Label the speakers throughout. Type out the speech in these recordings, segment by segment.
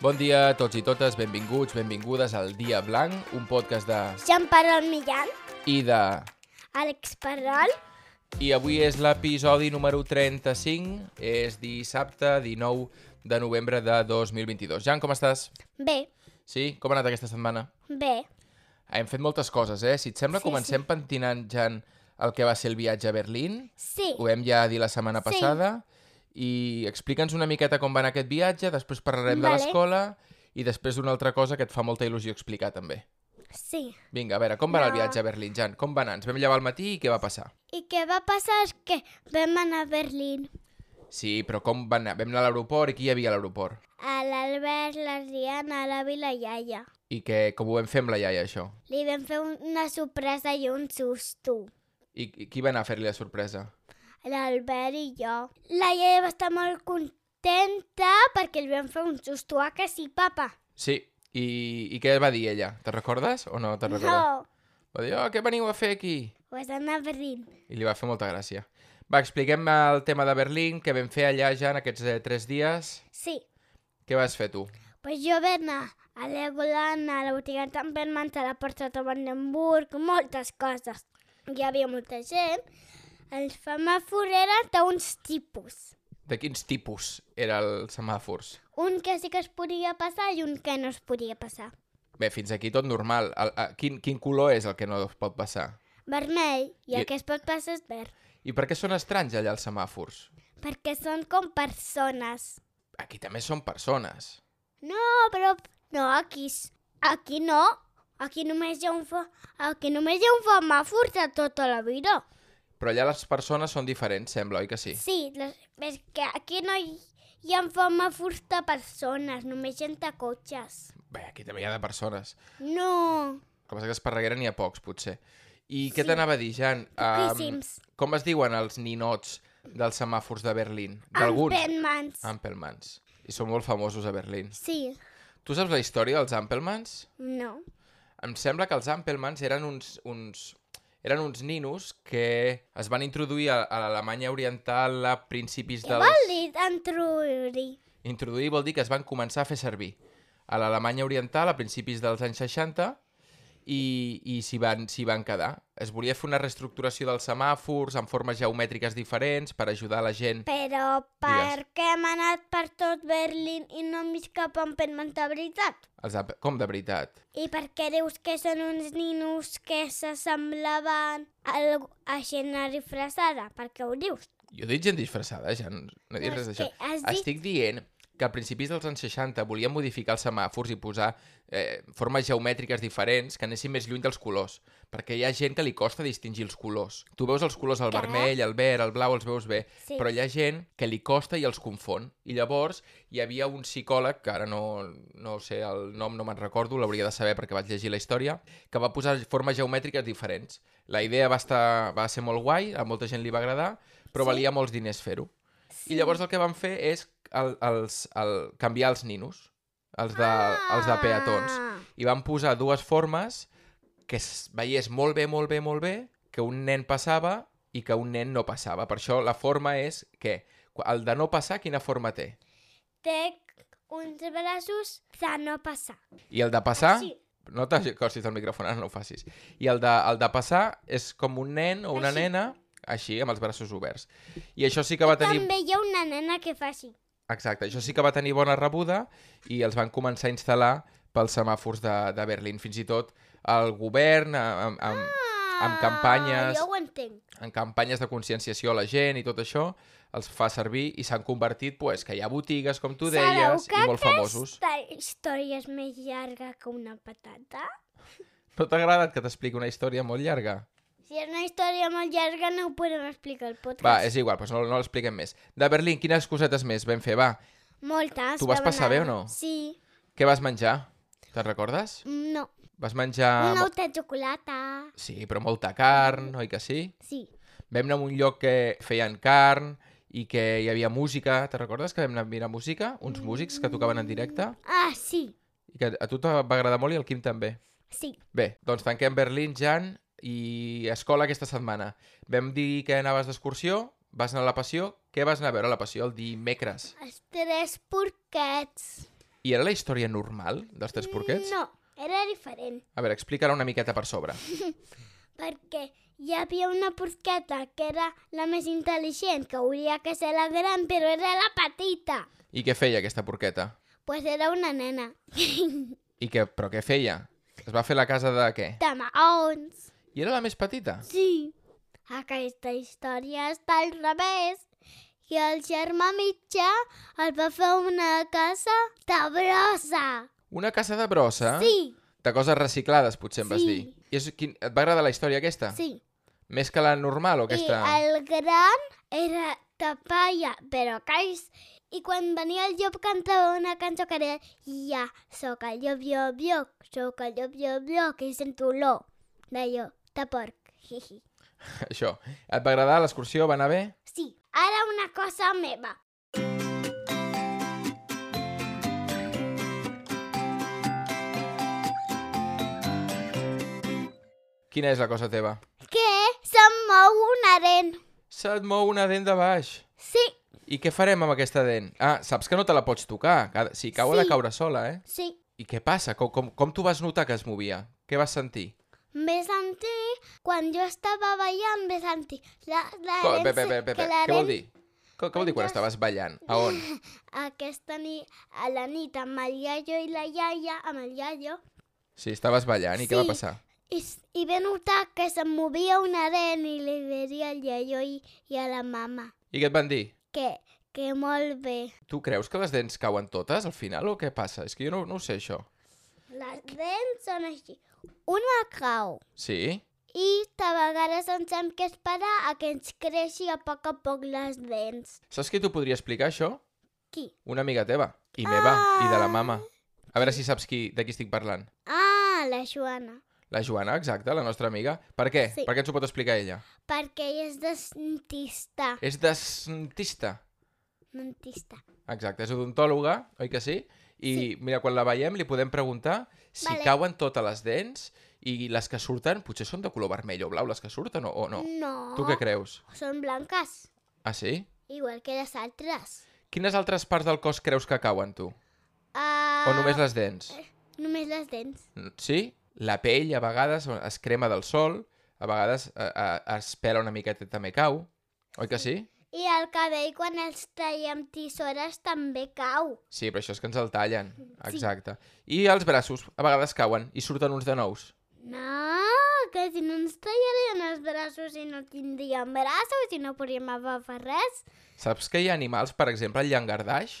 Speaker 1: Bon dia a tots i totes, benvinguts, benvingudes al Dia Blanc, un podcast de...
Speaker 2: Jean Parol Millán,
Speaker 1: i de...
Speaker 2: Àlex Parol,
Speaker 1: I avui és l'episodi número 35, és dissabte 19 de novembre de 2022. Jan, com estàs?
Speaker 2: bé,
Speaker 1: Sí? Com ha anat aquesta setmana? Ah,
Speaker 2: bé,
Speaker 1: Hem fet moltes coses, eh? Si et sembla,
Speaker 2: Sí,
Speaker 1: comencem pentinant, Jan, el que va ser el viatge a Berlín.
Speaker 2: sí,
Speaker 1: Ho hem ja dit la setmana
Speaker 2: Sí.
Speaker 1: passada. I explica'ns una miqueta com va anar aquest viatge, després parlarem de
Speaker 2: Vale.
Speaker 1: l'escola i després d'una altra cosa que et fa molta il·lusió explicar, també.
Speaker 2: sí.
Speaker 1: Vinga, a veure, com va anar el
Speaker 2: Va.
Speaker 1: viatge a Berlín, Jan? Com va anar? Ens vam llevar al matí i què va passar?
Speaker 2: I què va passar és que vam anar a Berlín.
Speaker 1: Sí, però com va anar? Vam anar a l'aeroport i qui hi havia a l'aeroport?
Speaker 2: A l'Albert, la Riana, l'Avi i la iaia.
Speaker 1: I que, com ho vam fer amb la iaia, això?
Speaker 2: Li vam fer una sorpresa i un susto.
Speaker 1: I, i qui va anar a fer-li la sorpresa?
Speaker 2: L'Albert i jo. La iaia va estar molt contenta perquè li vam fer un susto a que sí, papa.
Speaker 1: Sí, i, i què va dir ella? Te'n recordes o no te'n recordes?
Speaker 2: No,
Speaker 1: Va dir, oh, què veniu a fer aquí?
Speaker 2: vas anar a Berlín.
Speaker 1: I li va fer molta gràcia. Va, expliquem el tema de Berlín, què vam fer allà ja en aquests eh, tres dies.
Speaker 2: Sí,
Speaker 1: Què vas fer tu?
Speaker 2: Pues jo vaig anar a Legoland, a la botiga de Tempermans, a la porta de Brandenburg, moltes coses. Hi havia molta gent. Els semàfors d'uns tipus.
Speaker 1: De quins tipus era el semàfors?
Speaker 2: Un que sí que es podia passar i un que no es podia passar.
Speaker 1: Bé, fins aquí tot normal. El, a, quin, quin color és el que no es pot passar?
Speaker 2: Vermell, i
Speaker 1: I-
Speaker 2: el que es pot passar és verd.
Speaker 1: I per què són estranys allà els semàfors?
Speaker 2: Perquè són com persones.
Speaker 1: Aquí també són persones.
Speaker 2: No, però... No, aquí, s- aquí no. Aquí només hi ha un, fo- aquí només hi ha un semàfor de tota la vida.
Speaker 1: Però allà les persones són diferents, sembla, oi que sí?
Speaker 2: Sí, les, és que aquí no hi, hi ha forma furta persones, només gent de cotxes.
Speaker 1: Bé, aquí també hi ha de persones.
Speaker 2: No,
Speaker 1: El que passa que a Esparreguera n'hi ha pocs, potser. I què t'anava a dir, Jan? Em,
Speaker 2: poquíssims.
Speaker 1: com es diuen els ninots dels semàfors de Berlín? D'alguns?
Speaker 2: Alguns. Ampelmans.
Speaker 1: Ampelmans. I són molt famosos a Berlín.
Speaker 2: Sí,
Speaker 1: Tu saps la història dels Ampelmans?
Speaker 2: no.
Speaker 1: Em sembla que els Ampelmans eren uns, uns, eren uns ninos que es van introduir a, a l'Alemanya Oriental a principis
Speaker 2: Què
Speaker 1: dels...
Speaker 2: vol dir entruri?
Speaker 1: Introduir vol dir que es van començar a fer servir a l'Alemanya Oriental a principis dels anys 60 i, i s'hi van, s'hi van quedar. Es volia fer una reestructuració dels semàfors amb formes geomètriques diferents per ajudar la gent.
Speaker 2: Però per què hem anat per tot Berlín i no hem vist cap Ampelmans de veritat?
Speaker 1: Els ap- Com de veritat?
Speaker 2: I per què dius que són uns ninos que s'assemblaven a, algú- a gent disfressada? Per què ho dius?
Speaker 1: Jo he dit gent disfressada, ja no, no he dit
Speaker 2: No,
Speaker 1: res
Speaker 2: és
Speaker 1: d'això.
Speaker 2: que has dit-
Speaker 1: Estic dient que a principis dels anys 60 volien modificar els semàfors i posar eh, formes geomètriques diferents que anessin més lluny dels colors, perquè hi ha gent que li costa distingir els colors. Tu veus els colors, el
Speaker 2: Caram.
Speaker 1: vermell, el verd, el blau, els veus bé,
Speaker 2: Sí.
Speaker 1: però hi ha gent que li costa i els confon. I llavors hi havia un psicòleg, que ara no, no sé el nom, no me'n recordo, l'hauria de saber perquè vaig llegir la història, que va posar formes geomètriques diferents. La idea va, estar, va ser molt guai, a molta gent li va agradar, però sí.
Speaker 2: Sí.
Speaker 1: valia molts diners fer-ho. I llavors el que van fer és el, els, el, canviar els ninos, els de, els de peatons
Speaker 2: Ah.
Speaker 1: i van posar dues formes que es veiés molt bé, molt bé, molt bé, que un nen passava i que un nen no passava. Per això la forma és que qu- el de no passar, quina forma té?
Speaker 2: té uns braços de no passar.
Speaker 1: I el de passar...
Speaker 2: Així.
Speaker 1: No t'acostis al micròfon, ara no ho facis. I el de, el de passar és com un nen o una
Speaker 2: Així.
Speaker 1: nena, així, amb els braços oberts. I això sí que va tenir...
Speaker 2: També hi ha una nena que fa així.
Speaker 1: Exacte, això sí que va tenir bona rebuda i els van començar a instal·lar pels semàfors de, de Berlín. Fins i tot el govern, a- amb, amb, Amb campanyes.
Speaker 2: Ah, Jo ho entenc.
Speaker 1: en campanyes de conscienciació a la gent i tot això, els fa servir i s'han convertit, pues, que hi ha botigues, com tu deies, i molt famosos.
Speaker 2: aquesta història és més llarga que una patata?
Speaker 1: No t'ha agradat que t'expliqui una història molt llarga?
Speaker 2: Si és una història molt llarga no ho podem explicar al podcast.
Speaker 1: Va, és igual, doncs no, no l'expliquem més. De Berlín, quines cosetes més vam fer? Va,
Speaker 2: Moltes.
Speaker 1: Tu vas
Speaker 2: de
Speaker 1: passar bé o
Speaker 2: banana.
Speaker 1: no?
Speaker 2: Sí. mm,
Speaker 1: què vas menjar? Te'n recordes?
Speaker 2: No.
Speaker 1: Vas menjar...
Speaker 2: Una
Speaker 1: mo-
Speaker 2: outa de xocolata.
Speaker 1: Sí, però molta carn, oi que sí?
Speaker 2: Sí.
Speaker 1: Vam anar a un lloc que feien carn i que hi havia música. Te'n recordes que vam anar a mirar música? Uns músics que tocaven en directe?
Speaker 2: Ah, sí.
Speaker 1: I que a tu te va agradar molt i al Quim també.
Speaker 2: Sí.
Speaker 1: Bé, doncs tanquem Berlín, Jan, i escola aquesta setmana. Vam dir que anaves d'excursió, vas anar a la Passió. Què vas anar a veure a la Passió el dimecres?
Speaker 2: Els tres porquets.
Speaker 1: I era la història normal dels tres porquets?
Speaker 2: No, era diferent.
Speaker 1: A veure, explica-la una miqueta per sobre.
Speaker 2: perquè hi havia una porqueta que era la més intel·ligent, que hauria que ser la gran, però era la petita.
Speaker 1: I què feia aquesta porqueta?
Speaker 2: Pues era una nena.
Speaker 1: I què, però què feia? Es va fer la casa de què?
Speaker 2: De maons.
Speaker 1: I era la més petita?
Speaker 2: Sí. Aquesta història està al revés. I el germà mitjà el va fer una casa de brossa.
Speaker 1: Una casa de brossa?
Speaker 2: Sí,
Speaker 1: De coses reciclades, potser em vas
Speaker 2: Sí.
Speaker 1: dir. I és, quin, et va agradar la història aquesta?
Speaker 2: sí.
Speaker 1: Més que la normal o aquesta?
Speaker 2: I el gran era Tapaya, però cais. I quan venia el llop cantava una cançó que era Ja, sóc el llop, llop, llop, sóc el llop, llop, llop, i sento l'olor de llop, de porc. Hi, hi.
Speaker 1: Això. Et va agradar l'excursió? Va anar bé?
Speaker 2: Sí, ara una cosa meva.
Speaker 1: Quina és la cosa teva?
Speaker 2: Que se'm mou un aren.
Speaker 1: Se't mou una dent de baix.
Speaker 2: Sí,
Speaker 1: I què farem amb aquesta dent? Ah, saps que no te la pots tocar. Cada- Si cau ha de
Speaker 2: Sí.
Speaker 1: caure sola, eh?
Speaker 2: sí.
Speaker 1: I què passa? Com, com, com tu vas notar que es movia? Què vas sentir?
Speaker 2: Ve sentir, quan jo estava ballant, ve sentir la, la
Speaker 1: Co- Pe, pe, pe, pe, pe. Què vol dir? Co- Què vol dir quan
Speaker 2: Quan jo-
Speaker 1: estaves ballant? A on?
Speaker 2: aquesta nit, a la nit, amb el iaio i la iaia, amb el iaio,
Speaker 1: Sí, estaves ballant i què va
Speaker 2: Sí.
Speaker 1: passar?
Speaker 2: i, s- i ve notar que se'm movia una aren i li diria al iaio i, i a la mama
Speaker 1: I què et van dir?
Speaker 2: que, que molt bé.
Speaker 1: Tu creus que les dents cauen totes al final o què passa? És que jo no, no ho sé, això.
Speaker 2: Les dents són així. Una cau.
Speaker 1: Sí?
Speaker 2: I de vegades ens hem que esperar a que ens creixi a poc a poc les dents.
Speaker 1: Saps qui t'ho podria explicar, això?
Speaker 2: Qui?
Speaker 1: Una amiga teva. I meva. I de la
Speaker 2: Ah.
Speaker 1: mama. A veure si saps qui, de qui estic parlant.
Speaker 2: Ah, la Joana.
Speaker 1: La Joana, exacte, la nostra amiga. Per què?
Speaker 2: Sí.
Speaker 1: Per què ens ho pot explicar ella?
Speaker 2: Perquè ella és dentista.
Speaker 1: És dentista.
Speaker 2: Dentista.
Speaker 1: Exacte, és odontòloga, oi que sí? I sí. mira, quan la veiem li podem preguntar si
Speaker 2: Vale.
Speaker 1: cauen totes les dents i les que surten potser són de color vermell o blau les que surten o, o no.
Speaker 2: No.
Speaker 1: Tu què creus?
Speaker 2: Són blanques,
Speaker 1: Ah, sí?
Speaker 2: igual que les altres.
Speaker 1: Quines altres parts del cos creus que cauen, tu?
Speaker 2: Uh,
Speaker 1: O només les dents?
Speaker 2: Només les dents.
Speaker 1: Mm, Sí? La pell a vegades es crema del sol, a vegades eh, eh, es pela una miqueta i també cau. Oi que sí?
Speaker 2: I el cabell, quan els traiem tisores, també cau.
Speaker 1: Sí, però això és que ens el tallen. Exacte. I els braços a vegades cauen i surten uns de nous.
Speaker 2: No, que si no ens tallarien els braços i no tindríem braços i no podríem agafar res.
Speaker 1: Saps que hi ha animals, per exemple, el llangardaix,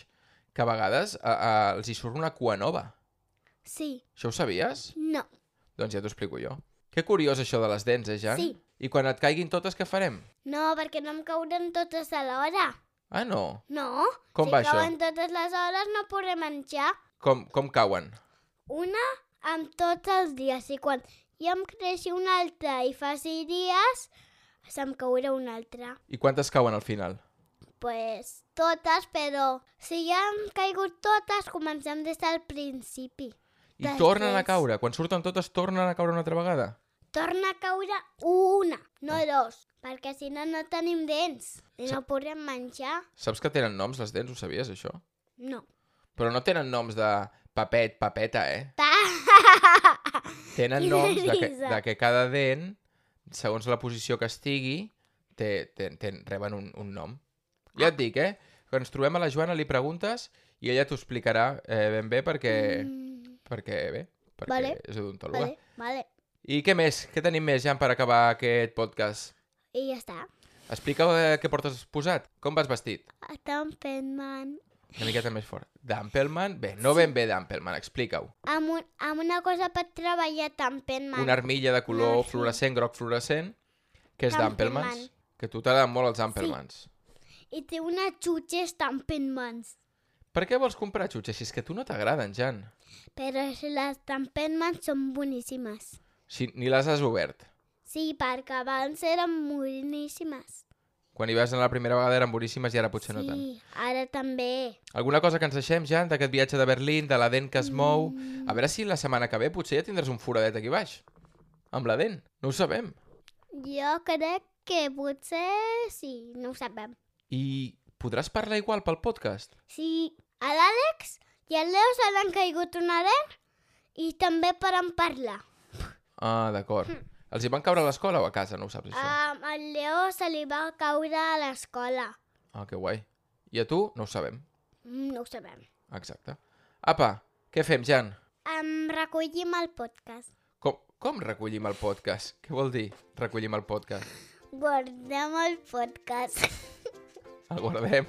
Speaker 1: que a vegades a, a, els hi surt una cua nova.
Speaker 2: Sí,
Speaker 1: Això ho sabies?
Speaker 2: no.
Speaker 1: Doncs ja t'ho explico jo. Que curiós això de les dents, eh, Jan?
Speaker 2: Sí.
Speaker 1: I quan et caiguin totes, què farem?
Speaker 2: No, perquè no em cauran totes a l'hora.
Speaker 1: Ah, no.
Speaker 2: No.
Speaker 1: Com
Speaker 2: si
Speaker 1: va això?
Speaker 2: cauen totes les hores no podré menjar.
Speaker 1: Com, com cauen?
Speaker 2: Una amb tots els dies. I quan ja em creixi una altra i faci dies, se'm caurà una altra.
Speaker 1: I quantes cauen al final?
Speaker 2: pues, totes, però si ja han caigut totes, comencem des del principi.
Speaker 1: I
Speaker 2: Després.
Speaker 1: tornen a caure. Quan surten totes, tornen a caure una altra vegada.
Speaker 2: Torna a caure una, no dos, perquè si no, no tenim dents i no podrem menjar.
Speaker 1: Saps que tenen noms, les dents? Ho sabies, això?
Speaker 2: No.
Speaker 1: Però no tenen noms de papet, papeta, eh?
Speaker 2: Pa!
Speaker 1: Tenen
Speaker 2: Quina
Speaker 1: noms de que,
Speaker 2: risa.
Speaker 1: de que cada dent, segons la posició que estigui, té, té, té, reben un, un nom. Ja et dic, eh? Quan ens trobem a la Joana li preguntes i ella t'ho explicarà eh, ben bé perquè... Mm.
Speaker 2: Mm,
Speaker 1: Perquè, bé, perquè
Speaker 2: Vale.
Speaker 1: és odontòloga.
Speaker 2: vale, vale.
Speaker 1: I què més? Què tenim més, Jan, per acabar aquest podcast?
Speaker 2: I ja està.
Speaker 1: Explica eh, què portes posat. Com vas vestit?
Speaker 2: Estan fent man
Speaker 1: Una miqueta més fort. D'Ampelman? Bé, no ben bé d'Ampelman, explica-ho.
Speaker 2: amb, un, amb una cosa per treballar tan fent man.
Speaker 1: Una armilla de color
Speaker 2: sí.
Speaker 1: fluorescent, groc fluorescent, que és
Speaker 2: D'Ampelman.
Speaker 1: d'Ampelmans. Que a tu t'agraden molt els Ampelmans.
Speaker 2: I té una xutxa estan fent mans.
Speaker 1: Per què vols comprar xutxes si és que a tu no t'agraden, Jan?
Speaker 2: Però les tampemans són boníssimes.
Speaker 1: Si ni les has obert.
Speaker 2: Sí, perquè abans eren boníssimes.
Speaker 1: Quan hi vas anar la primera vegada eren boníssimes i ara potser
Speaker 2: sí,
Speaker 1: no tant.
Speaker 2: ara també.
Speaker 1: Alguna cosa que ens deixem, Jan, d'aquest viatge de Berlín, de la dent que es
Speaker 2: Mm.
Speaker 1: mou... A veure si la setmana que ve potser ja tindràs un foradet aquí baix. Amb la dent. No ho sabem.
Speaker 2: Jo crec que potser sí, no ho sabem.
Speaker 1: I podràs parlar igual pel podcast?
Speaker 2: Sí, a l'Àlex I al Leo se n'han caigut una dent i també paren parlar.
Speaker 1: Ah, d'acord. Els hi van caure a l'escola o a casa? No ho saps, això.
Speaker 2: Um, al Leo se li va caure a l'escola.
Speaker 1: Ah, que guai. I a tu? No ho sabem.
Speaker 2: Mm, No ho sabem.
Speaker 1: Exacte. Apa, què fem, Jan?
Speaker 2: Um, recollim el podcast.
Speaker 1: Com, com recollim el podcast? Què vol dir, recollim el podcast?
Speaker 2: Guardem el podcast.
Speaker 1: El guardem.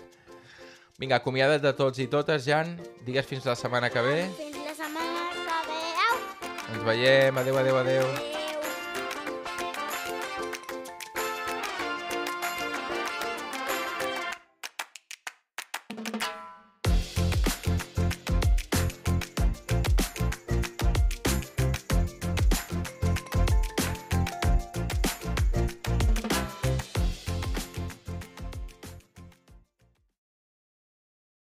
Speaker 1: Vinga, acomiada't de tots i totes, Jan. Digues fins la setmana que ve.
Speaker 2: Fins la setmana que ve. Au!
Speaker 1: Ens veiem. Adéu, adéu, adéu.
Speaker 2: Adéu.